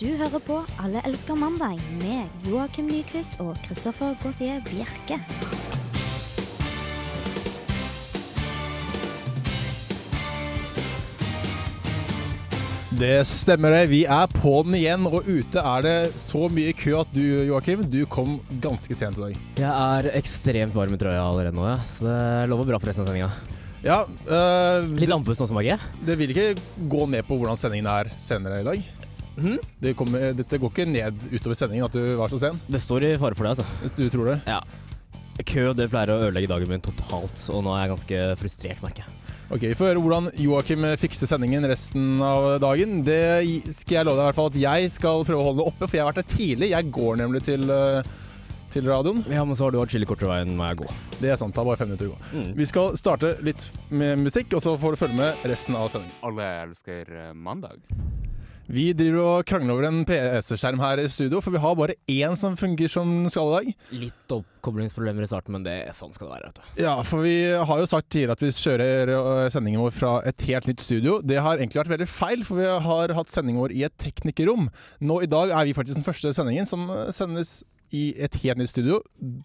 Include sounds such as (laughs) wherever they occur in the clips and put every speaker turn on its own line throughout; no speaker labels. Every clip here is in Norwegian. Du hører på Alle elsker mandag med Joakim Nyquist og Christoffer Gautier Bjerke.
Det stemmer det. Vi er på den igjen, og ute er det så mye kø at du, Joakim, du kom ganske sent i dag.
Jeg er ekstremt varm i trøya allerede nå, ja. så det lover bra for resten av sendinga.
Ja, øh,
Litt
det,
andpust også, Maggie.
det vil ikke gå ned på hvordan sendingen er senere i dag.
Mhm.
Det kommer, dette går ikke ned utover sendingen at du var så sen,
Det står i fare for det, altså.
hvis du tror det.
Kø det pleier å ødelegge dagen min totalt, og nå er jeg ganske frustrert, merker jeg.
Ok, Vi får høre hvordan Joakim fikser sendingen resten av dagen. Det skal jeg love deg i hvert fall at jeg skal prøve å holde det oppe, for jeg har vært der tidlig. Jeg går nemlig til, øh, til radioen.
Ja, men så har du atskillig kortere vei enn meg å gå.
Det er sant, det er bare fem minutter å gå.
Mm.
Vi skal starte litt med musikk, og så får du følge med resten av sendingen.
Alle elsker eh, mandag.
Vi driver og krangler over en PC-skjerm her i studio, for vi har bare én som fungerer som den skal i dag.
Litt oppkoblingsproblemer i starten, men det, sånn skal det være. vet du.
Ja, for vi har jo sagt tidligere at vi kjører øh, sendingen vår fra et helt nytt studio. Det har egentlig vært veldig feil, for vi har hatt sendingen vår i et teknikerrom. Nå i dag er vi faktisk den første sendingen som øh, sendes i et helt nytt studio,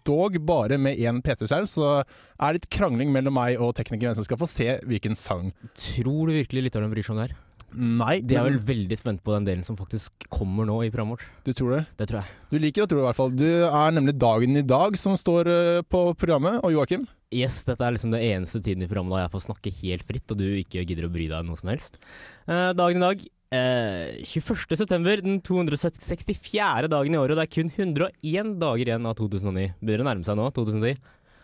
dog bare med én PC-skjerm, så det er litt krangling mellom meg og teknikeren hvem som skal få se hvilken sang.
Tror du virkelig lytterne bryr seg om det her?
Nei,
De er
men-
vel veldig spent på den delen som faktisk kommer nå i programmet vårt.
Du tror det?
Det tror jeg.
Du liker å tro det, i hvert fall. Du er nemlig dagen i dag som står eh, på programmet. Og Joakim,
Yes, dette er liksom det eneste tiden i programmet da jeg får snakke helt fritt, og du ikke gidder å bry deg noe som helst. Eh, dagen i dag, eh, 21. september, den 264. dagen i året, og det er kun 101 dager igjen av 2009. Begynner å nærme seg nå, 2010.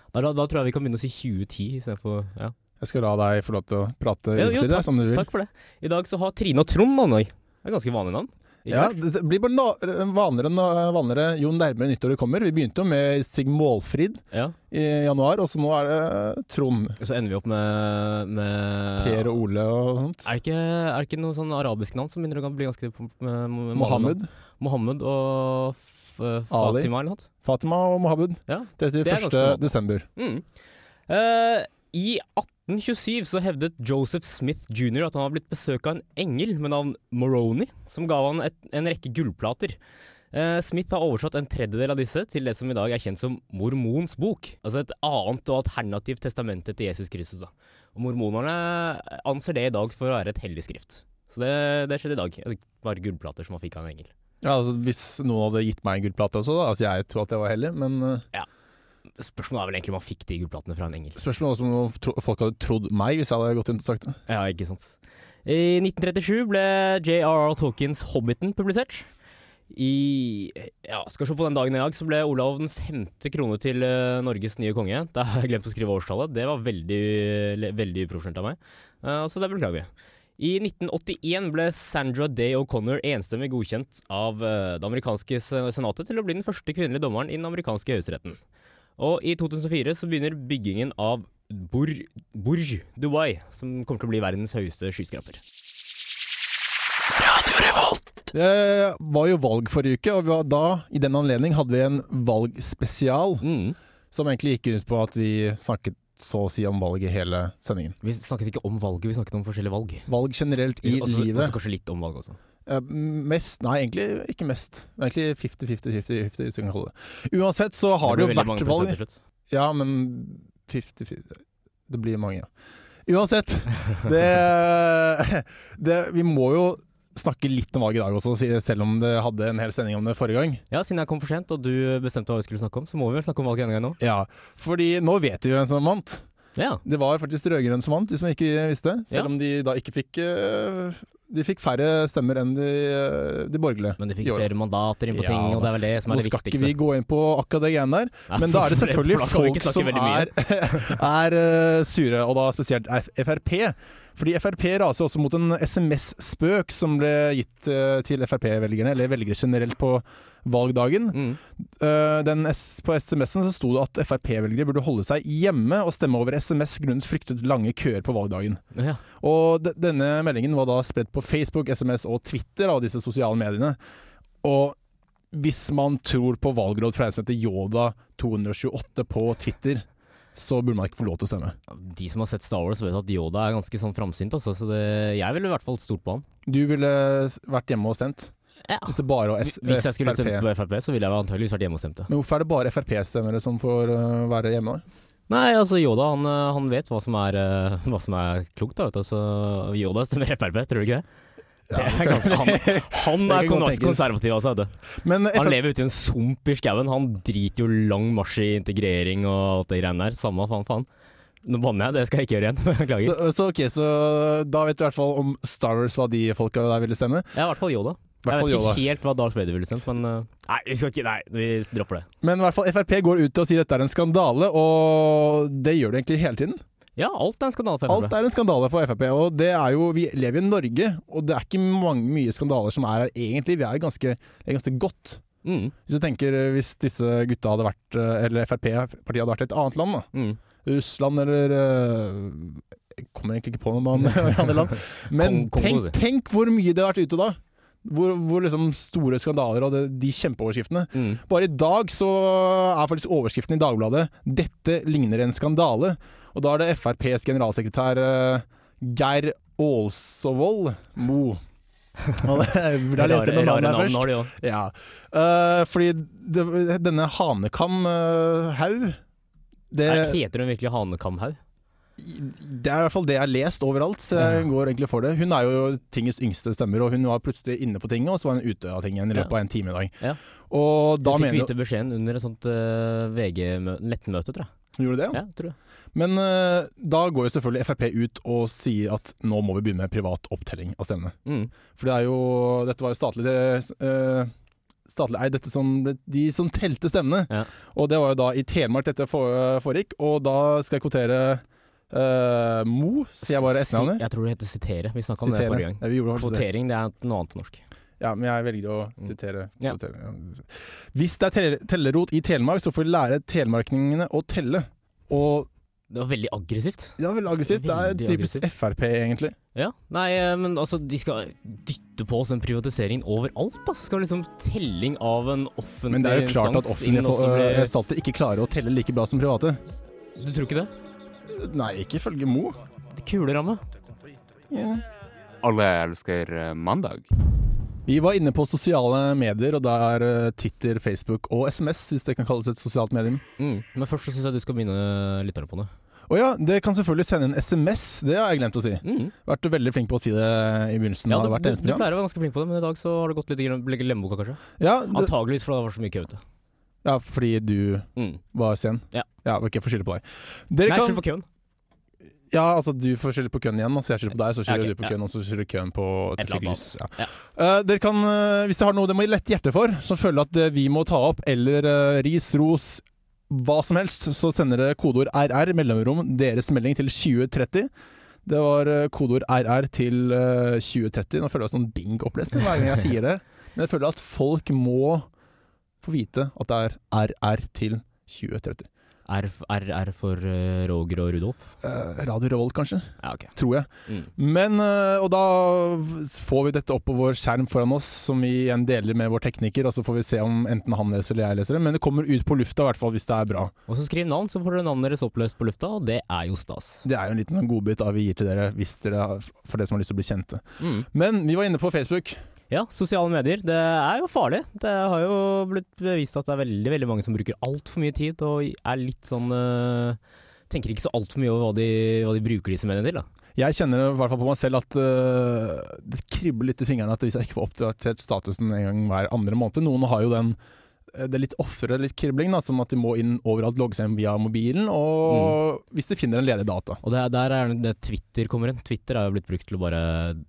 Da, da, da tror jeg vi kan begynne å si 2010 istedenfor ja.
jeg skal la deg få lov til å prate
Jo, jo,
utover det som du vil.
Takk for det. I dag så har Trine og Trond navn òg. Det er ganske vanlige navn. Ikke
Ja,
sant?
det det blir bare na- eh, vanligere og vanligere jo nærmere nyttåret kommer. Vi begynte jo med Sig Målfrid
ja.
i januar, og så nå er det eh, Trond.
Så ender vi opp med, med
Per og Ole og sånt.
Er det, ikke, er det ikke noe sånn arabisk navn som begynner å bli ganske eh,
Mohammed.
Mohammed og F eh,
Ali.
Fatima eller noe. sånt.
Fatima og Mohammed.
Ja, det er
31.
ganske bra.
desember.
Mm. Eh, I 1827 så hevdet Joseph Smith jr. at han var blitt besøkt av en engel med navn Moroni, som ga han et, en rekke gullplater. Eh, Smith har oversatt en tredjedel av disse til det som i dag er kjent som Mormons bok. Altså et annet og alternativt testamente til Jesus Kristus. da. Og Mormonerne anser det i dag for å være et hellig skrift. Så det, det skjedde i dag. Det var gullplater som han fikk av en engel.
Ja, altså, hvis noen hadde gitt meg en gullplate også, da. Altså, jeg tror at jeg var heldig, men eh,
Spørsmålet er vel egentlig om han fikk de gullplatene fra en engel.
spørsmålet er også om tro- folk hadde trodd meg hvis jeg hadde gått rundt og sagt det.
Ja, ikke sant. I 1937 ble J.R.R. Tolkiens 'Hobbiten' publisert. I ja, skal vi se på den dagen i dag, så ble Olav den femte krone til eh, Norges nye konge. Da har jeg glemt å skrive årstallet. Det var veldig, le- veldig uprofesjonelt av meg, Eh, så det beklager vi. I 1981 ble Sandra Day O'Connor enstemmig godkjent av eh, det amerikanske se- senatet til å bli den første kvinnelige dommeren i den amerikanske høyesteretten. Og i 2004 så begynner byggingen av Bur Burj Dubai, som kommer til å bli verdens høyeste skyskraper.
Det var jo valg forrige uke, og vi var da, i den anledning, hadde vi en valgspesial
Mm.
som egentlig gikk ut på at vi snakket så å si om valg i hele sendingen.
Vi snakket ikke om valget, vi snakket om forskjellige valg.
Valg generelt i
Vi- også- også
livet.
kanskje litt om valget også.
Eh, mest Nei, egentlig ikke mest. Egentlig 50-50-50, hvis du kan kalle det Uansett så har det,
blir
jo
veldig mange
vært
prosent
valg.
til slutt.
Ja, men 50-50 Det blir mange, ja. Uansett. Det, (laughs) det Vi må jo snakke litt om valg i dag også, si- selv om det hadde en hel sending om det forrige gang.
Ja, siden jeg kom for sent og du bestemte hva vi skulle snakke om, så må vi vel snakke om valget en gang nå.
Ja, fordi nå vet vi hvem som vant.
Ja.
Det var faktisk rød-grønn som vant, de som ikke visste. Selv
Ja.
om de da ikke fikk øh, De fikk færre stemmer enn de, øh, de borgerlige.
Men de
I
fikk
år.
flere mandater inn på
Ja,
ting, og det er vel det som er
Nå
det
skal ikke vi
viktigste.
gå inn på akkurat det greiene der,
Ja,
men da
(laughs)
er det
for- for
selvfølgelig
da kan vi
folk
ikke snakke
som
veldig mye.
er, er (laughs) øh, sure, og da spesielt F- Frp. Fordi Frp raser også mot en SMS-spøk som ble gitt øh, til Frp-velgerne, eller velgere generelt, på valgdagen.
Mm.
Eh, den S på SMS-en så sto det at Frp-velgere burde holde seg hjemme og stemme over SMS grunnet fryktet lange køer på valgdagen.
Ja.
Og de denne meldingen var da spredt på Facebook, SMS og Twitter av disse sosiale mediene. Og hvis man tror på valgråd fra en som heter Yoda228 på Twitter, så burde man ikke få lov til å stemme.
De som har sett Star Wars, vet at Yoda er ganske sånn framsynt, altså, så det, jeg ville i hvert fall stolt på han.
Du ville s- vært hjemme og stemt.
Ja.
Hvis det bare var S
Hvis jeg skulle
Frp.
stemt på Frp, så ville jeg antageligvis vært hjemme og stemt, ja.
Men hvorfor er det bare Frp-stemmere som får øh, være hjemme? da?
Nei, altså Yoda han, eh, han vet hva som er, eh, (laughs) hva som er klokt, da, vet du. Så Yoda stemmer Frp, tror du ikke det?
Ja,
Det er ganske, han, han
(laughs) Det
er
kan godt
kon-
tenkes.
konservativ, altså. vet du.
Men
Han
Frp
lever ute i en sump i skauen. Han driter jo lang marsj i integrering og alt det greiene der. Samme faen, faen. Nå banner jeg, det skal jeg ikke gjøre igjen. (laughs) Beklager.
så, så ok, så da vet du i hvert fall om Star Wars hva de folka der ville stemme.
Ja, i hvert fall Yoda.
I hvert
Jeg
fall
vet ikke
Yoda.
helt hva Darth Vader ville sendt, men eh, Nei, vi skal ikke Nei, vi dropper det.
Men i hvert fall Frp går ut og sier dette er en skandale, og det gjør de egentlig hele tiden.
Ja, alt er en skandale for
Alt
Frp.
er en skandale for Frp, og det er jo Vi lever i Norge, og det er ikke mange, mye skandaler som er her egentlig. Vi er ganske, det er ganske godt.
Mm,
Hvis du tenker eh, hvis disse gutta hadde vært eh, Eller Frp-partiet hadde vært i et annet land, da.
mm.
Russland eller eh, Jeg kommer egentlig ikke på noen (laughs) andre land. Men
Kong- Kongo,
tenk,
si.
tenk hvor mye det har vært ute da. Hvor, hvor liksom store skandaler og det, de kjempeoverskriftene.
Mm.
Bare i dag så er faktisk overskriften i Dagbladet 'Dette ligner en skandale'. Og da er det FrPs generalsekretær eh, Geir Aalsovold
(laughs)
Mo. Og det- Jeg burde ha lest
Rare,
gjennom
rare
navnet
navn
her først.
har de òg.
Ja. Eh, fordi det, denne Hanekam eh, Haug det,
Heter hun virkelig Hanekamhaug?
det er i hvert fall det jeg har lest overalt, så jeg går egentlig for det. Hun er jo tingets yngste stemmer, og hun var plutselig inne på tinget, og så var hun ute av tinget i løpet av en time i dag.
Ja.
Og da
Du fikk
mener
vite beskjeden under et sånt eh, VG-nettmøte, tror jeg.
hun Gjorde det?
Ja, tror jeg.
Men eh, da går jo selvfølgelig Frp ut og sier at nå må vi begynne med privat opptelling av stemmene.
Mm.
For det er jo Dette var jo statlig eh, Statlig eid, dette som De som telte stemmene.
Ja.
Og det var jo da i Telemark dette for- eh, foregikk, og da skal jeg kvotere eh, Mo, sier jeg bare
Si-
etternavnet.
Jeg tror det heter sitere. Vi snakka om det
Sitere.
forrige gang.
Ja, vi gjorde faktisk det.
Kvotering det er noe annet på norsk.
Ja, men jeg velger å sitere.
Mm. Ja.
kvotere. Hvis det er tele- tellerot i Telemark, så får vi lære telemarkningene å telle. Og
Det var veldig aggressivt.
det var veldig aggressivt. Det er
Veldig
typisk
aggressivt.
Frp, egentlig.
Ja, nei, eh, men altså, de skal dytte på oss den privatiseringen overalt, da. Skal liksom telling av en offentlig
Men det er jo klart at
instans inn
offentlige
også
fo-
blir-
eh, salter ikke klarer å telle like bra som private.
Du tror ikke det?
Nei, ikke ifølge Mo.
Kuleramme.
Ja.
Alle elsker eh, mandag.
Vi var inne på sosiale medier, og det er eh, Twitter, Facebook og SMS, hvis det kan kalles et sosialt medium.
Mm. Men først så syns jeg du skal begynne eh, lytterne på det.
Å ja, det kan selvfølgelig sende en SMS, det har jeg glemt å si.
Mm.
Vært veldig flink på å si det i begynnelsen
Ja,
av
du,
hvert
du,
eneste
du
program.
pleier å være ganske flink på det, men i dag så har det gått litt i glem- glemmeboka, kanskje.
Ja, det,
Antageligvis fordi det var så mye kø ute.
ja, fordi du
Mm.
var sen.
Ja.
ja ok, får skylde på deg. Dere
Nei,
kan,
skyld på køen.
Ja, altså du får skylde på køen igjen, altså jeg skylder på deg, så skylder
Ja, ok,
du på
ja.
køen, og så skylder køen på
Et
et
eller annet
lys. Ja.
Ja.
Eh, dere kan, eh, hvis dere har noe dere må lette hjertet for, som føler at eh, vi må ta opp, eller eh, ris, ros, hva som helst, så sender dere kodeord RR, mellomrom, deres melding til 2030. Det var eh, kodeord RR til eh, 2030. Nå føler jeg sånn bing-opplesning hver gang jeg sier det. Men jeg føler at folk må få vite at det er RR til 2030.
R, R, R for eh, Roger og Rudolf.
Eh, Radio Revolt, kanskje?
Ja, ok.
Tror jeg.
Mm.
Men, øh, og da får vi dette opp på vår skjerm foran oss, som vi igjen deler med vår tekniker, og så får vi se om enten han leser eller jeg leser det, men det kommer ut på lufta i hvert fall hvis det er bra.
Og så skriv navn, så får dere navnet deres oppløst på lufta, og det er jo stas.
Det er jo en liten sånn godbit da vi gir til dere, hvis dere har- for dere som har lyst til å bli kjente.
Mm.
Men vi var inne på Facebook.
Ja, sosiale medier, det er jo farlig. Det har jo blitt bevist at det er veldig veldig mange som bruker altfor mye tid, og er litt sånn eh, Tenker ikke så altfor mye over hva de, hva de bruker disse mediene til, da.
Jeg kjenner i hvert fall på meg selv at øh, det kribler litt i fingrene at hvis jeg ikke får oppdatert statusen en gang hver andre måned Noen har jo den øh, det er litt oftere litt kribling, da, som at de må inn overalt, logge seg inn via mobilen,
Mm.
og hvis de finner en ledig data.
Og det, er- der er det Twitter kommer inn. Twitter er jo blitt brukt til å bare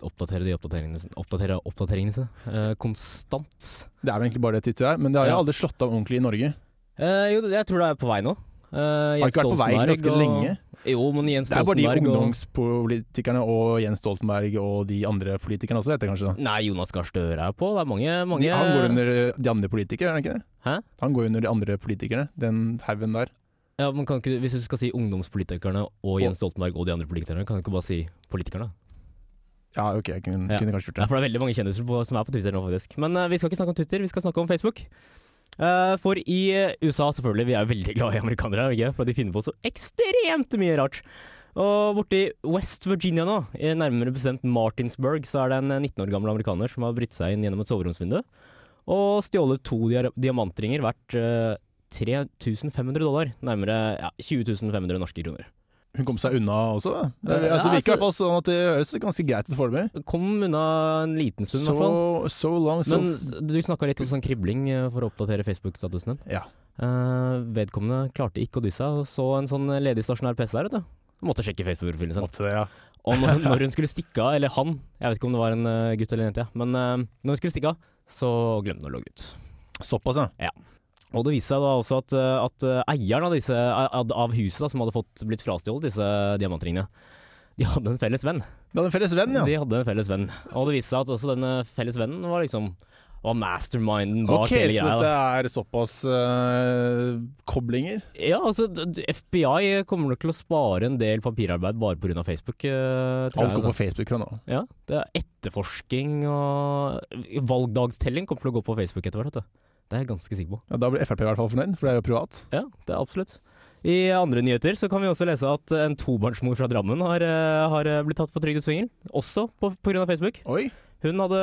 oppdatere de oppdateringene sine- oppdatere oppdateringene sine eh, konstant.
Det er vel egentlig bare det Twitter er, men det har jo
Ja.
aldri slått av ordentlig i Norge.
Eh, jo, jeg tror det er på vei nå. Uh,
Det har ikke vært på vei ganske lenge.
Jo, men Jens
Det er bare de
Stoltenberg og
ungdomspolitikerne og Jens Stoltenberg og de andre politikerne også, heter det kanskje. da.
Nei, Jonas Gahr Støre er på. Det er mange, mange
De, han går under eh, de andre politikere, er han ikke det?
Hæ?
Han går under de andre politikerne, den haugen der.
Ja, men kan ikke, du- Hvis du skal si ungdomspolitikerne og Jens Stoltenberg og de andre politikerne, kan du ikke bare si politikerne?
Ja, ok, jeg kunne,
Ja.
kunne kanskje gjort
Ja,
det.
for det er veldig mange kjendiser på, som er på Twitter nå, faktisk. Men eh, vi skal ikke snakke om Twitter, vi skal snakke om Facebook. Eh, for i eh, USA, selvfølgelig, vi er jo veldig glad i amerikanere, er vi ikke? for de finner på så ekstremt mye rart. Og borti West Virginia nå, i nærmere bestemt Martinsburg, så er det en 19 år gammel amerikaner som har brytt seg inn gjennom et soveromsvindu og stjålet to dia- diamantringer verdt eh, 3500 dollar. Nærmere ja, 20.500 norske kroner.
Hun kom seg unna også. da. Det,
Ja,
altså, det virker i
altså-
hvert fall sånn at det høres ganske greit ut foreløpig.
Kom unna en liten stund, i
So,
hvert fall.
so long, so
Men du snakka litt om sånn kribling eh, for å oppdatere Facebook-statusen din.
Ja.
Eh, vedkommende klarte ikke å dy seg, og så en sånn ledig stasjonær PC der, vet du. Måtte sjekke Facebook-profilen sin.
Måtte det, (laughs) ja.
Og når, når hun skulle stikke av, eller han, jeg vet ikke om det var en eh, gutt eller en jente, ja. men eh, når hun skulle stikke av, så glemte hun å logge ut.
Såpass, ja.
Og det viste seg da også at, eh, at eh, eieren av, disse, av, av huset da, som hadde fått, blitt frastjålet disse eh, diamantringene, de hadde en felles venn.
Du hadde en felles venn, ja.
De hadde en felles venn. Og det viste seg at også denne felles vennen var liksom var masterminden bak
Ok,
hele
så
greia.
dette
da.
er såpass eh, koblinger.
Ja, altså, d- d- FBI kommer nok til å spare en del papirarbeid bare pga. Facebook. eh, tror jeg,
Alt går
altså.
på Facebook fra nå.
Ja, det er etterforsking og valgdagstelling kommer til å gå på Facebook etter hvert. vet du. Det er jeg ganske sikker på.
Ja, da blir Frp i hvert fall fornøyd, for det er jo privat.
Ja, det er absolutt. I andre nyheter så kan vi også lese at en tobarnsmor fra Drammen har, eh, har blitt tatt for trygdesvingel, også på- pga. Facebook.
Oi.
Hun hadde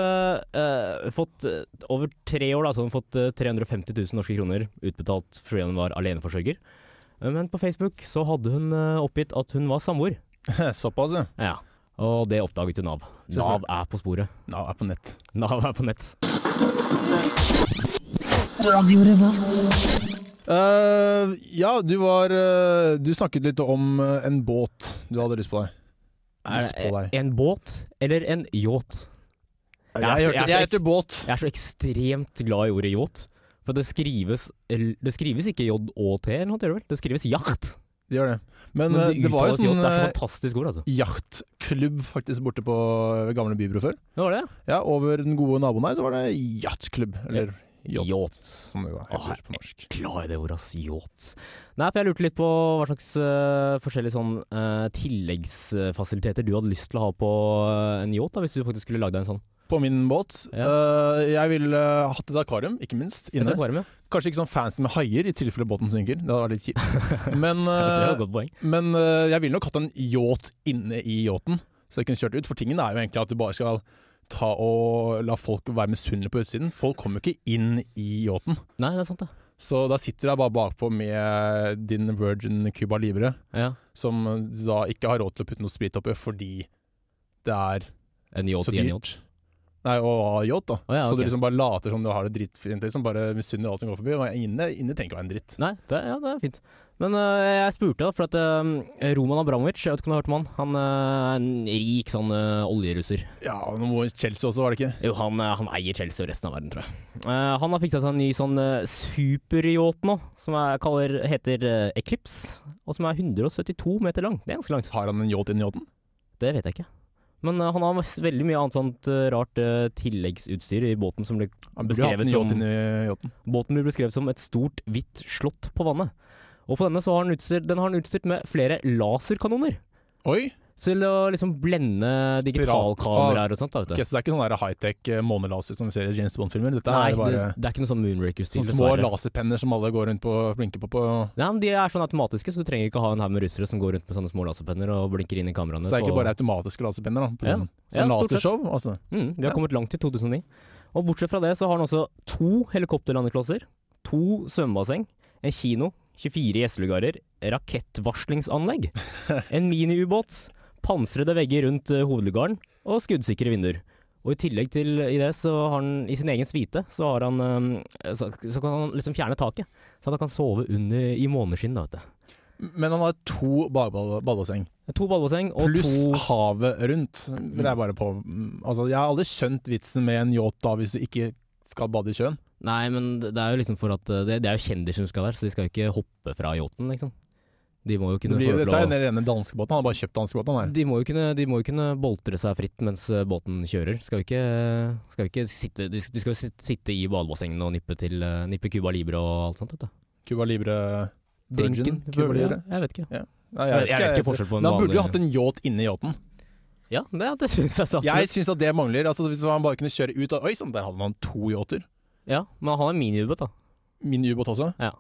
eh, fått eh, over tre år da, så hadde hun fått eh, 350 000 norske kroner utbetalt fordi hun var aleneforsørger. Eh, Men på Facebook så hadde hun eh, oppgitt at hun var samboer.
(laughs) Såpass, ja.
Ja, og det oppdaget jo Nav. Nav
Selvfølgelig.
er på sporet.
Nav er på nett.
Nav er på nett.
Eh, ja, du var eh, Du snakket litt om eh, en båt du hadde lyst på deg.
Er
Lyst på
det
deg.
en båt eller en yacht?
Jeg,
er så-
hørte,
jeg er
jeg
så
heter båt.
Jeg er så ekstremt glad i ordet yacht. For det skrives Det skrives ikke J-Å-T, eller noe, gjør det vel? Det skrives yacht.
Det gjør det. Men,
Men
eh,
det
det var jo
uttales yacht.
sånn
Det er så
eh,
fantastisk ord, altså.
jaktklubb faktisk borte på eh, gamle Bybro før.
Det var det?
Ja, over den gode naboen her så var det jaktklubb. Eller yacht, Ah,
Yacht.
som det da
Åh,
heter på norsk.
Glad i det ordet, ass. Yacht. Nei, for jeg lurte litt på hva slags eh, forskjellige sånn eh, tilleggsfasiliteter du hadde lyst til å ha på eh, en yacht, da, hvis du faktisk skulle lagd deg en sånn.
På min båt. eh, jeg ville eh, hatt et akvarium, ikke minst.
Et
Inne.
akvarium, ja.
Kanskje ikke sånn fancy med haier, i tilfelle båten synker. Det hadde vært litt (laughs) kjipt. Men,
Det er et
eh,
godt poeng.
men eh, jeg ville nok hatt en yacht inne i yachten, så jeg kunne kjørt ut. For tingen er jo egentlig at du bare skal ta og la folk være misunnelige på utsiden. Folk kommer jo ikke inn i yachten.
Nei, det er sant, det.
Så da sitter jeg bare bakpå med din Virgin Cuba Libre,
Ja.
som du da ikke har råd til å putte noe sprit oppi fordi det er
En yacht
så
i en yacht.
dyrt. Nei, og ha yacht, da.
Å ja,
Så du
ok.
liksom bare later som du har det drittfint, liksom bare misunner alt som går forbi. Og inne, inne tenker jeg å være en dritt.
Nei, det, ja, det er fint. Men øh, jeg spurte, da, for at øh, Roman Abramovic, jeg vet ikke om du har hørt om han? Han øh, er en rik sånn øh, oljerusser.
Ja, nå må Chelsea også, var det ikke?
Jo, han, øh, han eier Chelsea og resten av verden, tror jeg. Eh, han har fiksa seg en ny sånn øh, superyacht nå, som jeg kaller, heter øh, Eclipse. Og som er 172 meter lang. Det er ganske langt.
Har han en yacht inni yachten?
Det vet jeg ikke. Men øh, han har masse- veldig mye annet sånt øh, rart øh, tilleggsutstyr i båten som blir
Han burde jo hatt en
Beskrevet
yacht
som-
inni yachten.
Båten blir beskrevet som et stort, hvitt slott på vannet. Og på denne så har den, utstyrt, den har den utstyrt med flere laserkanoner.
Oi!
Så Til å liksom blende digitalkameraer og sånt. da,
ok,
vet du.
så det er ikke sånn der high-tech eh, månelaser som vi ser i James Bond-filmer. Dette
Nei,
er bare
det, det er ikke noe sånn Moonrakers-stil.
sånne små
dessverre.
laserpenner som alle går rundt på og blinker på. på.
Nei, men De er sånn automatiske, så du trenger ikke ha en haug med russere som går rundt med sånne små laserpenner og blinker inn i kameraene.
Så det er
på-
egentlig bare automatiske laserpenner. da. På
Ja.
sånn,
Ja,
sånn
stort sett.
lasershow, altså.
Mm, de har
Ja.
kommet langt i 2009. Og bortsett fra det så har den også to helikopterlandeklosser, to svømmebasseng, en kino, 24 gjestelugarer,
(laughs)
rakettvarslingsanlegg, en miniubåt, pansrede vegger rundt eh, hovedlugaren og skuddsikre vinduer. Og i tillegg til i det, så har han i sin egen suite, så, har han, eh, så, så kan han liksom fjerne taket. Så at han kan sove under i måneskinn, da, vet du.
Men han har to badeball- badebasseng,
To badebasseng og
pluss
to
havet rundt. Det er bare på Altså, jeg har aldri skjønt vitsen med en yacht da, hvis du ikke skal bade i sjøen.
Nei, men det det er jo liksom for at eh, Det, det er jo kjendiser som skal der, så de skal jo ikke hoppe fra yachten, liksom. De må jo
Det
kunne
blir,
få lov
dette er jo
til å
den rene danskebåten. Han har bare kjøpt danskebåten, han her.
de må, jo kunne, de må jo kunne boltre seg fritt mens eh, båten kjører. Skal jo ikke, skal jo ikke sitte De de skal jo sit- sitte i badebassengene og nippe til eh, Nippe Cuba Libre og alt sånt. Vet du.
Cuba Libre Virgin.
Drinken,
Cuba
burde-
Libre.
ja, Jeg vet ikke.
Nei,
Jeg, jeg vet ikke forskjell på en
Men han burde jo
vanlig-
hatt en yacht inni yachten.
Ja, det, det syns jeg så
Jeg
absolutt.
syns at det mangler. Altså Hvis han bare kunne kjøre ut sånn, av Oi sann, der hadde man to yachter.
Ja, men han har en miniubåt, da.
Min ubåt også.
Ja.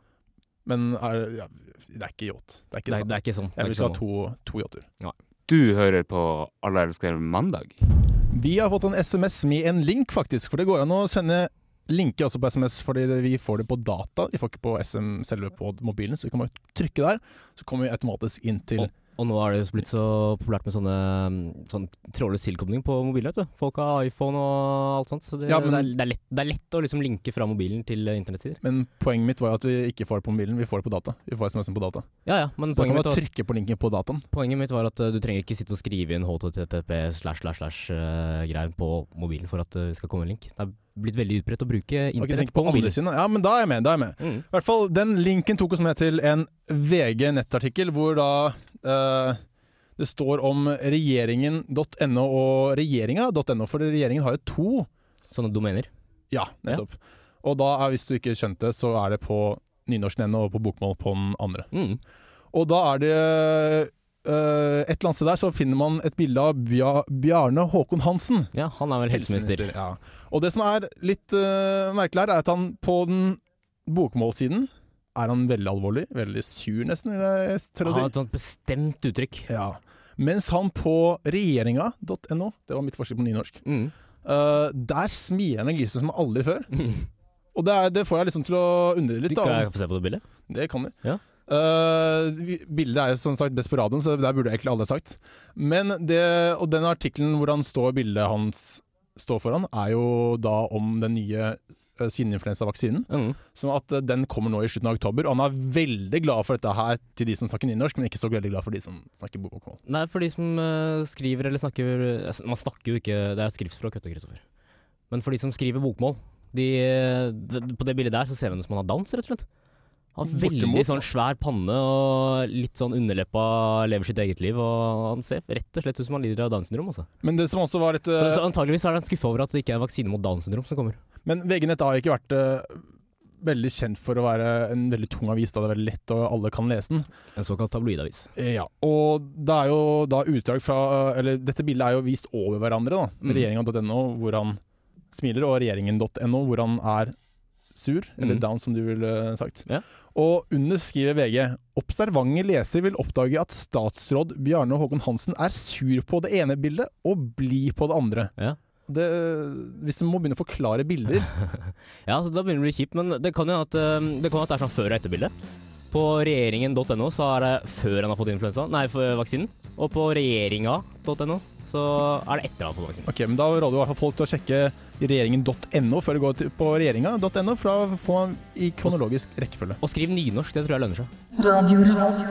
Men er, ja, det er ikke yacht. Det er ikke
Det, er-
sant.
det er ikke sånn. Det
Jeg
er
vil
ikke
ikke ha
sånn.
to, to yachter.
Du hører på Alle elsker mandag.
Vi har fått en SMS med en link, faktisk. For det går an å sende linker også på SMS, fordi det- vi får det på data. Vi får ikke på SM selve på mobilen, så vi kan bare trykke der. Så kommer vi automatisk inn til
Og nå er det jo blitt så populært med sånne mm, sånn trådløs tilkobling på mobilen. vet du. Folk har iPhone og alt sånt, så det,
Ja, men-
det, er, det, er, lett, det er lett å liksom linke fra mobilen til eh, internettsider.
Men poenget mitt var jo at vi ikke får det på mobilen, vi får det på data. Vi får SMS-en på data.
Ja, ja,
Så
men
da kan vi
poenget mitt,
bare
var,
trykke på linken på dataen.
poenget mitt var at eh, du trenger ikke sitte og skrive inn HTTP slash slash slash eh, greier på mobilen for at eh, det skal komme en link. Det er blitt veldig utbredt å bruke
Og ikke
internett
tenke på
på
andre
mobilen.
siden. da. Ja, men da er jeg med. Da er jeg med.
Mm.
I hvert fall, Den linken tok oss med til en VG-nettartikkel hvor da eh, det står om regjeringen.no og regjeringa.no, for regjeringen har jo to.
Sånne domener.
Ja, nettopp. Og da er, hvis du ikke skjønte, så er det på nynorsken.no og på bokmål på den andre.
Mm.
Og da er det eh, et eller annet sted der så finner man et bilde av Bja Bjarne Håkon Hansen.
Ja, han er vel helseminister.
Ja. Og det som er litt eh, merkelig her, er at han på den bokmålsiden er han veldig alvorlig, veldig sur nesten, vil jeg
Han
tørre å
har
si.
et sånt bestemt uttrykk.
Ja. Mens han på regjeringa.no, det var mitt forskjell på nynorsk,
(laughs) Mm.
eh, der smiler han og gliser som aldri før. Og det, er, det får jeg liksom til å undre
Du
litt.
kan
Da.
jeg få se på det bildet?
Det kan du.
Ja.
Eh, vi- bildet er jo som sagt best på radioen, så der burde egentlig alle ha sagt. Men det, og den artikkelen hvor han står bildet hans står foran, er jo da om den nye eh, svininfluensavaksinen.
Mm.
Sånn at eh, den kommer nå i slutten av oktober. Og han er veldig glad for dette her til de som snakker nynorsk, men ikke så veldig glad for de som snakker bokmål.
Nei, for de som eh, skriver eller snakker eh, Man snakker jo ikke Det er et skriftspråk, vet du, Kristoffer. Men for de som skriver bokmål de, eh, d- På det bildet der så ser vi henne som han har downs, rett og slett. Han har veldig
Bortimot,
sånn svær panne og litt sånn underleppa, lever sitt eget liv. Og han ser rett og slett ut som han lider av Downs syndrom. Altså.
Men det som også var litt
Så,
eh,
så antageligvis er han skuffa over at det ikke er en vaksine mot Downs syndrom som kommer.
Men VG-nett har ikke vært eh, veldig kjent for å være en veldig tung avis, da det er veldig lett og alle kan lese den.
En såkalt tabloidavis.
Ja, og det er jo da utdrag fra Eller dette bildet er jo vist over hverandre, da.
Mm.
Regjeringa.no hvor han smiler, og regjeringen.no hvor han er sur, eller
Mm.
down som du ville sagt.
Ja.
Og under skriver VG observante leser vil oppdage at statsråd Bjarne Håkon Hansen er sur på det ene bildet og blid på det andre.
Ja.
Det, hvis du må begynne å forklare bilder
(laughs) Ja, så da begynner det å bli kjipt, men det kan jo at, eh, det, kan jo at det er sånn før- og etterbilde. På regjeringen.no så er det før han har fått influensa, nei, for vaksinen. Og på regjeringa.no så er det etter han har fått vaksinen.
Ok, men Da råder vi i hvert fall folk til å sjekke regjeringen.no før de går til- på regjeringa.no, for da får man i kronologisk rekkefølge.
Og skriv nynorsk, det tror jeg lønner seg.
Radio Revolt.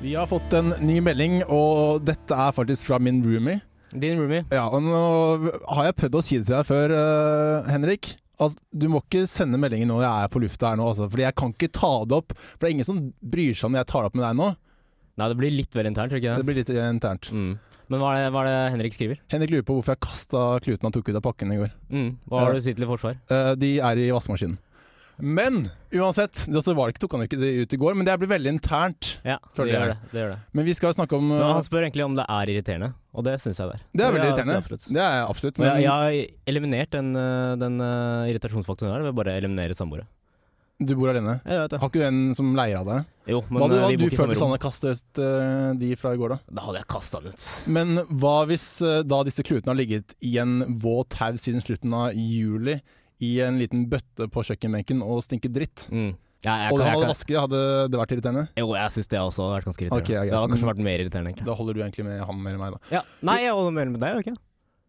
Vi har fått en ny melding, og dette er faktisk fra min roomie.
Din roomie.
Ja, og nå har jeg prøvd å si det til deg før, eh, Henrik. At du må ikke sende meldinger når jeg er på lufta her nå, altså. Fordi jeg kan ikke ta det opp. For det er ingen som bryr seg om når jeg tar det opp med deg nå.
Nei, det blir litt vel internt, tror jeg ikke
Det
det?
blir litt internt.
Mm. Men hva er, det, hva er det Henrik skriver?
Henrik lurer på hvorfor jeg kasta kluten han tok ut av pakken i går.
Mm. Hva har
Ja.
du å si til forsvar?
Eh, De er i vaskemaskinen. Men uansett, det også var det ikke, tok han ikke det ut i går, men det blir veldig internt.
Ja, det
Følger jeg.
gjør det. det, gjør det.
Men vi skal snakke om
Men
eh,
han spør egentlig om det er irriterende, og det syns jeg det er.
Det er veldig
Ja,
irriterende.
absolutt.
Det er jeg absolutt.
Og
Men
jeg, jeg har eliminert den, eh, den eh, irritasjonsfaktoren der ved bare å eliminere samboere.
du bor alene.
Jeg vet det.
Har ikke du en som leier av deg?
Jo, men
Hva hadde,
eh,
hva
vi
hadde
bor
du sånn- følt
ikke i samme
hvis
rom.
han hadde kastet eh, de fra i går, da?
Da hadde jeg kasta den ut.
Men hva hvis eh, da disse klutene har ligget i en våt haug siden slutten av juli, i en liten bøtte på kjøkkenbenken og stinket dritt?
Mm. Ja, jeg,
og
kan,
da
jeg,
hadde
kan,
vasket, hadde det vært irriterende?
jo, jeg syns det også har vært ganske irriterende.
Ok, ja, greit,
det hadde kanskje
men-
vært mer irriterende, egentlig.
Da holder du egentlig med ham eller meg, da.
Ja. Nei, jeg holder mer med deg, gjør jeg ikke?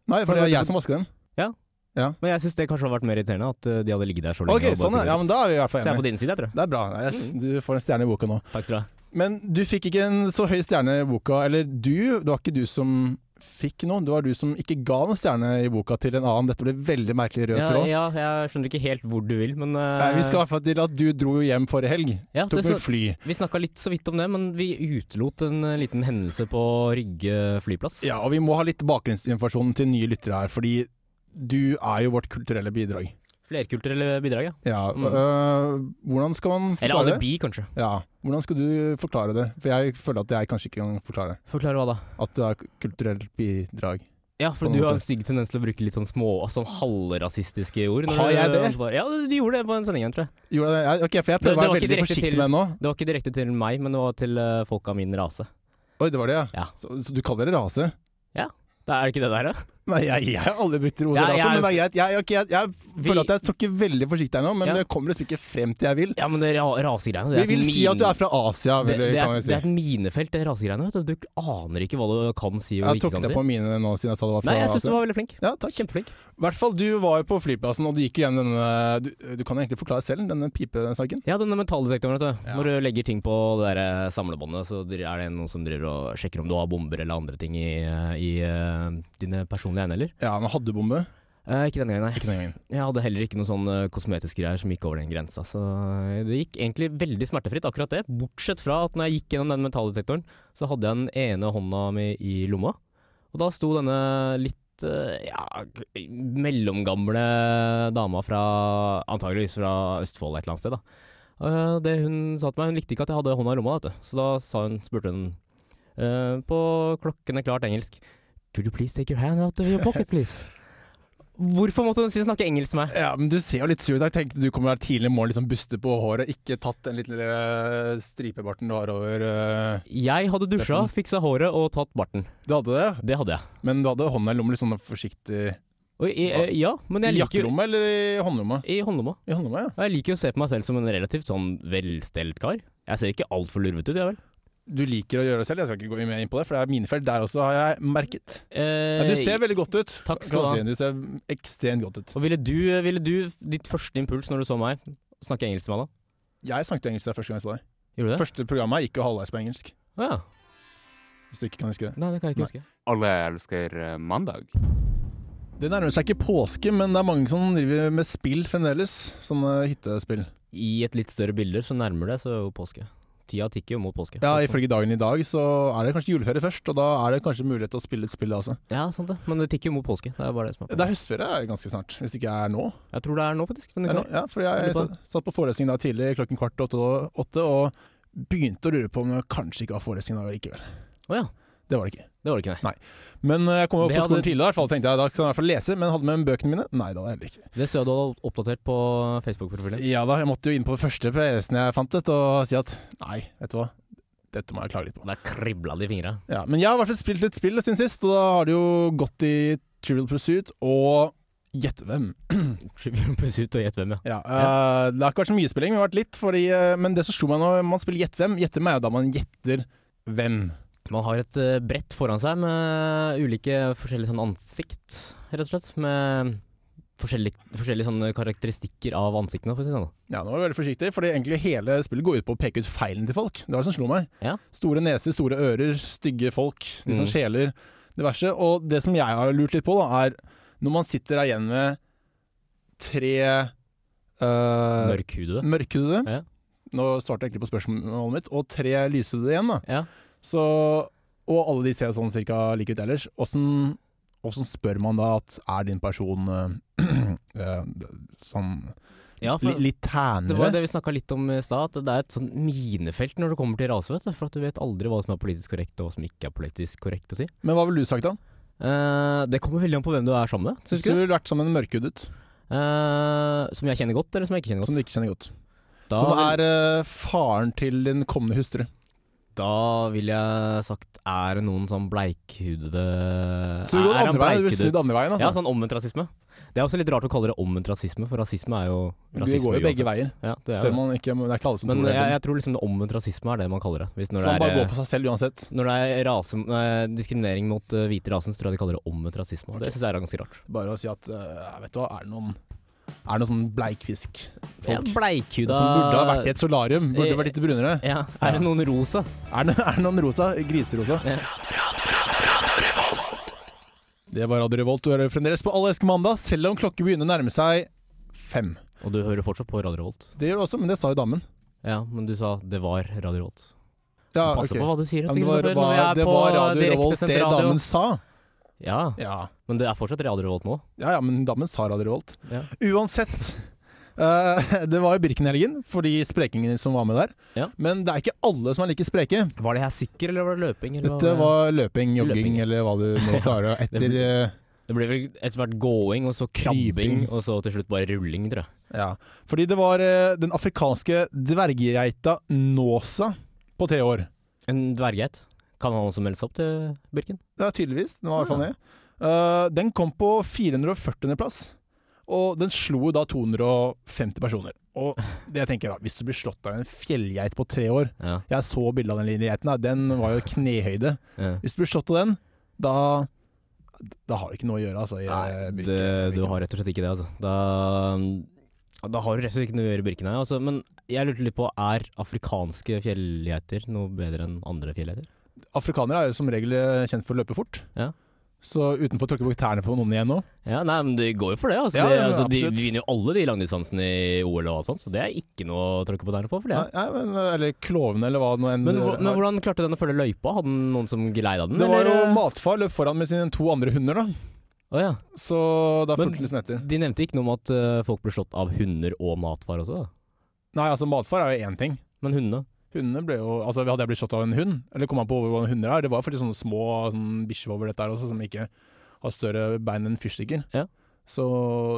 Nei, for
det
det er
var
jeg som vasker dem.
Men jeg syns det kanskje har vært mer irriterende at eh, de hadde ligget der så lenge.
Ok,
og bare
sånn ja.
sugget
ja.
ut.
Men da er vi i hvert fall
så jeg er
enige.
på Mm. din side, jeg tror.
Det er bra. Yes, du får en stjerne i boka nå.
Takk skal du ha.
Men du fikk ikke en så høy stjerne i boka, eller du, det var ikke du som fikk noe, det var du som ikke ga noen stjerne i boka til en annen. Dette ble veldig merkelig rød
Ja,
tråd.
ja, jeg skjønner ikke helt hvor du vil, men eh,
Nei, vi skal i hvert fall til at du dro jo hjem forrige helg.
ja, det,
Tok
så,
(laughs) med fly.
Vi snakka litt så vidt om det, men vi utelot en eh, liten hendelse på Rygge flyplass.
Ja, og vi må ha litt bakgrunnsinformasjon til nye lyttere her, fordi du er jo vårt kulturelle bidrag.
Flerkulturelle bidrag, ja.
Ja,
Mm.
øh, hvordan skal man
Eller
forklare det?
alibi, kanskje.
Ja, hvordan skal du forklare det? For jeg føler at jeg kanskje ikke kan forklare
Forklare hva da?
at du er kulturelt bidrag.
Ja, for
På en
du har
måte.
en stygg tendens til å bruke litt sånn små, altså halvrasistiske ord. når
Har
du-
jeg det?
Ja, du gjorde det på en sending, tror jeg.
Gjorde jeg det? Ok, for jeg
Det- det
prøver å
var
være
ikke
veldig
direkte
forsiktig
til-
med det nå.
Det var ikke direkte til meg, men det var til eh, folk av min rase.
Oi, det var det, ja.
Ja.
Så, så du kaller det rase?
Det er ikke det der, da?
Nei, jeg, jeg har aldri brukt ordet
Ja,
rase,
jeg-
men det er greit. Jeg, ok, jeg, jeg
Vi-
føler at jeg tråkker veldig forsiktig her nå, men
Ja.
jeg kommer liksom ikke frem til jeg vil.
Ja, men det ra rasegreiene det er
Vi vil
et
si at du
mine-
er fra Asia, vil,
det, det,
kan
er,
vi
det
si.
er et minefelt, det rasegreiene. vet Du Du aner ikke hva du kan si og
Jeg
ikke kan
tråkket
si.
på mine nå siden jeg sa du var fra
Nei, jeg syns du
Asia.
var veldig flink.
Ja, takk.
Kjempeflink.
I hvert fall, du var jo på flyplassen, og du gikk jo gjennom denne Du, du kan jo egentlig forklare selv, denne pipesaken.
Ja, denne metalldetektoren, vet du.
Ja.
Når du legger ting på det der eh, samlebåndet, så dri- er det noen som driver og sjekker om du har bomber eller andre ting i, eh, i eh, dine personlige eiendeler.
Ja, men hadde du bombe?
Eh, ikke denne gangen, nei.
Ikke den gangen.
Jeg hadde heller ikke noen sånne kosmetiske greier som gikk over den grensa, så eh, det gikk egentlig veldig smertefritt, akkurat det. Bortsett fra at når jeg gikk gjennom den metalldetektoren, så hadde jeg den ene hånda mi i lomma, og da sto denne litt eh, ja, g- mellomgamle dama fra antageligvis fra Østfold et eller annet sted, da. Eh, Det hun sa til meg, hun likte ikke at jeg hadde hånda i lomma, vet du. Så da sa hun, spurte hun eh, på klokkende klart engelsk Could you please take your hand out of your pocket, please? (laughs) Hvorfor måtte hun si snakke engelsk med meg?
Ja, men du ser jo litt sur ut. Jeg tenkte du kommer der tidlig i morgen, liksom buste på håret, ikke tatt den lille øh, stripebarten du har over øh.
Jeg hadde dusja, fiksa håret og tatt barten.
Du hadde det,
Det hadde jeg.
men du hadde hånda i lomma litt sånn forsiktig
Og i, eh, ja, men
I
jeg liker jo
jakkelomma eller i håndlomma?
I håndlomma.
I håndlomma, ja.
Og jeg liker jo å se på meg selv som en relativt sånn velstelt kar. Jeg ser ikke altfor lurvete ut, jeg vel.
Du liker å gjøre det selv, jeg skal ikke gå mer inn på det, for det er minefelt der også, har jeg merket.
Eh,
Men du ser veldig godt ut.
Takk skal
kan
du
jeg Si. Du ser ekstremt godt ut.
Eh, Og ville du, ville du, ditt første impuls når du så meg, snakke engelsk til meg da?
Jeg snakket engelsk der første gang jeg så deg.
Gjorde du det?
Første programmet gikk jo halvveis på engelsk,
Å ja.
hvis du ikke kan huske det.
Nei, det kan jeg
Nei.
ikke huske.
Alle elsker eh, mandag.
Det nærmer seg ikke påske, men det er mange som driver med spill fremdeles. Sånne hyttespill.
I et litt større bilde så nærmer det seg jo påske. Tida tikker jo mot påske. Altså.
Ja,
Også.
Ifølge dagen i dag så er det kanskje juleferie først, og da er det kanskje mulighet til å spille et spill. Altså.
ja, sant det. Men det tikker jo mot påske. Det er bare det som er
Det er høstferie ganske snart, hvis det ikke er nå.
Jeg tror det er nå, faktisk.
Det
Denne
er nå
kvelden.
ja, for jeg
Jeg lurer på
sa- satt på forelesning da tidlig klokken kvart til åtte, åtte og begynte å lure på om jeg kanskje ikke var forelesning i dag likevel.
Å ja.
Det var det ikke.
Det var det ikke, nei.
Men eh, jeg kom opp
Det
på skolen
hadde-
tidlig, i hvert fall tenkte jeg da kan jeg i hvert fall lese, men hadde med bøkene mine? Nei, det hadde jeg heller ikke.
Det ser jeg du har oppdatert på Facebook-profilen.
Ja da, jeg måtte jo inn på den første PC-en jeg fant ut og si at nei, vet du hva, dette må jeg klage litt på.
Der kribla det i fingra. (laughs)
Ja, men jeg har i hvert fall spilt litt spill siden sist, og da har det jo gått i Trivial Pursuit og Gjett hvem.
Trivial Pursuit og gjett hvem,
Ja,
ja.
eh, det har ikke vært så mye spilling, men det har vært litt, fordi, eh, men det som slo meg når man spiller Gjett hvem, Gjett hvem er jo da man gjetter hvem.
Man har et eh, brett foran seg med ulike forskjellige sånn ansikt, rett og slett. Med forskjellige, forskjellige sånne karakteristikker av ansiktene, for å si det sånn.
Ja, nå var jeg veldig forsiktig, fordi egentlig hele spillet går ut på å peke ut feilen til folk. Det var det som slo meg.
Ja.
Store neser, store ører, stygge folk, de som
Mm.
skjeler, det verste. Og det som jeg har lurt litt på, da, er når man sitter her igjen med tre øh,
Mørkhudede.
mørkhudede
Ja.
Nå svarte jeg egentlig på spørsmålet mitt. Og tre lyshudede igjen, da.
Ja.
Så, og alle de ser sånn cirka like ut ellers. Åssen åssen spør man da at er din person øh, (clears throat) øh, sånn
Ja,
li,
for
litt tænere?
det var jo det vi snakka litt om i stad, at det er et sånn minefelt når det kommer til rase, vet du. For at du vet aldri hva som er politisk korrekt, og hva som ikke er politisk korrekt å si.
Men hva ville du sagt da?
Eh, det kommer veldig an på hvem du er sammen med,
Hvis
syns
du
du?
ville vært sammen med en mørkhudet
Eh, som jeg kjenner godt, eller som jeg ikke kjenner
som du
godt?
ikke kjenner godt,
Da
som
vil-
er eh, faren til din kommende hustru
Da ville jeg sagt er det noen sånn bleikhudede
Så du går
er han
andre veien, du vil snu
bleikhudet?
den andre veien, altså.
Ja, sånn omvendt rasisme. Det er også litt rart å kalle det omvendt rasisme, for rasisme er jo
Det
rasisme.
går jo begge veier.
Ja, det er
Selv
det.
om man ikke, det er ikke alle som
Men
tror det.
jeg, jeg tror liksom det omvendt rasisme er det man kaller det. Hvis
så
når,
man
det
bare går
er, eh,
på seg selv uansett.
når det er rase, eh, diskriminering mot eh, hvite rasen, så tror jeg de kaller det omvendt rasisme.
Ok.
Det syns jeg er ganske rart.
Bare å si at eh, vet du hva, er det noen er det noen sånn bleikfisk
Ja,
folk
bleikhuda
som burde ha vært i et solarium? Burde
Eh,
vært litt brunere?
ja, Er det noen rosa?
Er det, er det noen rosa? Griserosa?
Ja.
Det var Radio Revolt. Du hører fremdeles på Alle elsker mandag, selv om klokken begynner å nærme seg fem.
Og du hører fortsatt på Radio Revolt.
Det gjør det også, men det sa jo damen.
Ja, men du sa det var Radio Revolt.
Ja,
Passe
ok.
på hva du sier.
Ja,
vet
men
du,
det var, var,
Kristoffer, når vi er
det
på
var Radio Revolt,
direktesendt
det
radio.
damen sa.
Ja,
Ja.
men det er fortsatt Radio Revolt nå.
ja, ja, men damen sa Radio Revolt.
Ja.
Uansett, (laughs) Eh, det var jo Birken-helgen for de sprekingene som var med der.
Ja.
Men det er ikke alle som er like spreke.
Var det her sykkel, eller var det løping? Eller
Dette var løping, jogging
Løping, ja.
eller hva du må
(laughs)
klare etter eh,
Det ble vel etter hvert gåing, og så krabbing,
Krabbing.
og så til slutt bare rulling, tror jeg.
Ja, fordi det var eh, den afrikanske dverggeita Nåsa på tre år.
En dverggeit. Kan han også meldes opp til Birken?
Det er tydeligvis, den var i hvert fall det. Eh, den kom på 440. plass, og den slo da 250 personer. Og det jeg tenker da, hvis du blir slått av en fjellgeit på tre år
Ja.
Jeg så bildet av den lille geiten, her, den var jo knehøyde. Hvis du blir slått av den, da da har du ikke noe å gjøre, altså. i, eh,
Nei, det,
Birken-
du har rett og slett ikke det, altså. Da, da har du rett og slett ikke noe å gjøre i Birken her. Altså. Men jeg lurte litt på, er afrikanske fjellgeiter noe bedre enn andre fjellgeiter?
Afrikanere er jo som regel eh, kjent for å løpe fort.
Ja.
Så utenfor å tråkke på tærne på noen igjen nå
Ja, nei, men de går jo for det. Altså.
Ja, ja,
de,
men
altså, de,
absolutt.
de vinner jo alle de langdistansene i OL og alt sånt, så det er ikke noe å tråkke på tærne på. For det.
Nei,
er-
nei, men, eller klovene, eller hva det nå enn
Men, hvor- men hvordan klarte den å følge løypa? Hadde den noen som geleida den?
Det var jo
eller?
matfar løp foran med sine to andre hunder, da.
Å, ja.
Så da
Men-
fulgte han liksom etter.
De nevnte ikke noe om at eh, folk ble slått av hunder og matfar også, da.
Nei, altså matfar er jo én ting.
men hundene.
Hundene ble jo Altså Hadde jeg blitt slått av en hund, eller kom an på hvordan hunder er Det var faktisk sånne små sånn bikkjevovler dette her også, som ikke har større bein enn fyrstikker.
Ja.
Så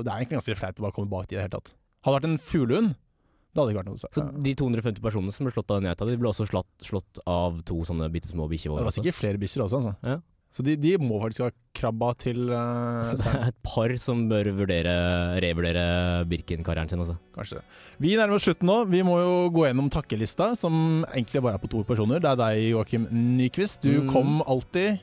det er egentlig ganske flaut å bare komme bak de i det hele tatt. Hadde det vært en fuglehund, det hadde ikke vært noe å si.
Så de 250 personene som ble slått av den geita, de ble også slått, slått av to sånne bitte små
Det
bikkjevåler.
var sikkert flere bikkjer også, altså.
Ja.
Så de, de må faktisk ha krabba til eh,
Så det
seg.
er et par som bør vurdere, revurdere Birken-karrieren sin, altså.
Kanskje det. Vi nærmer oss slutten nå. Vi må jo gå gjennom takkelista, som egentlig bare er på to personer. Det er deg, Joakim Nyquist. Du
Mm.
kom alltid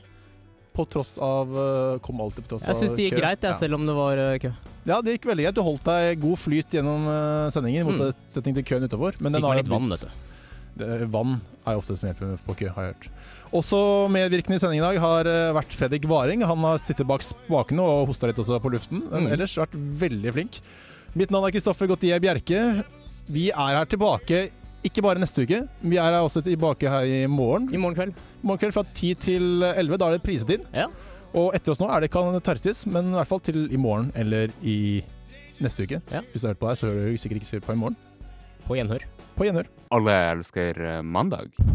på tross av eh, Kom alltid på tross
Jeg syns
av
det gikk
kø.
greit, jeg,
ja.
selv om det var eh, kø.
Ja, det gikk veldig greit. Du holdt deg god flyt gjennom eh, sendingen, i
Mm.
motsetning til køen utafor. Men den
Fikk meg
har
litt vann, altså. vet du.
Det- Vann er jo ofte som hjelper på kø, har jeg hørt. Også medvirkende i sendingen i dag har eh, vært Fredrik Varing. Han har sittet bak spakene og hosta litt også på luften. Men
Mm.
ellers vært veldig flink. Mitt navn er Kristoffer Gautier Bjerke. Vi er her tilbake ikke bare neste uke, vi er her også tilbake her i morgen.
I morgen kveld.
I morgen kveld fra 10 til 11, da er det prisetid.
Ja.
Og etter oss nå er det Katarsis, men i hvert fall til i morgen eller i neste uke.
Ja.
Hvis du har hørt på her, så hører du sikkert ikke på i morgen.
På gjenhør.
På gjenhør.
Alle elsker eh, mandag.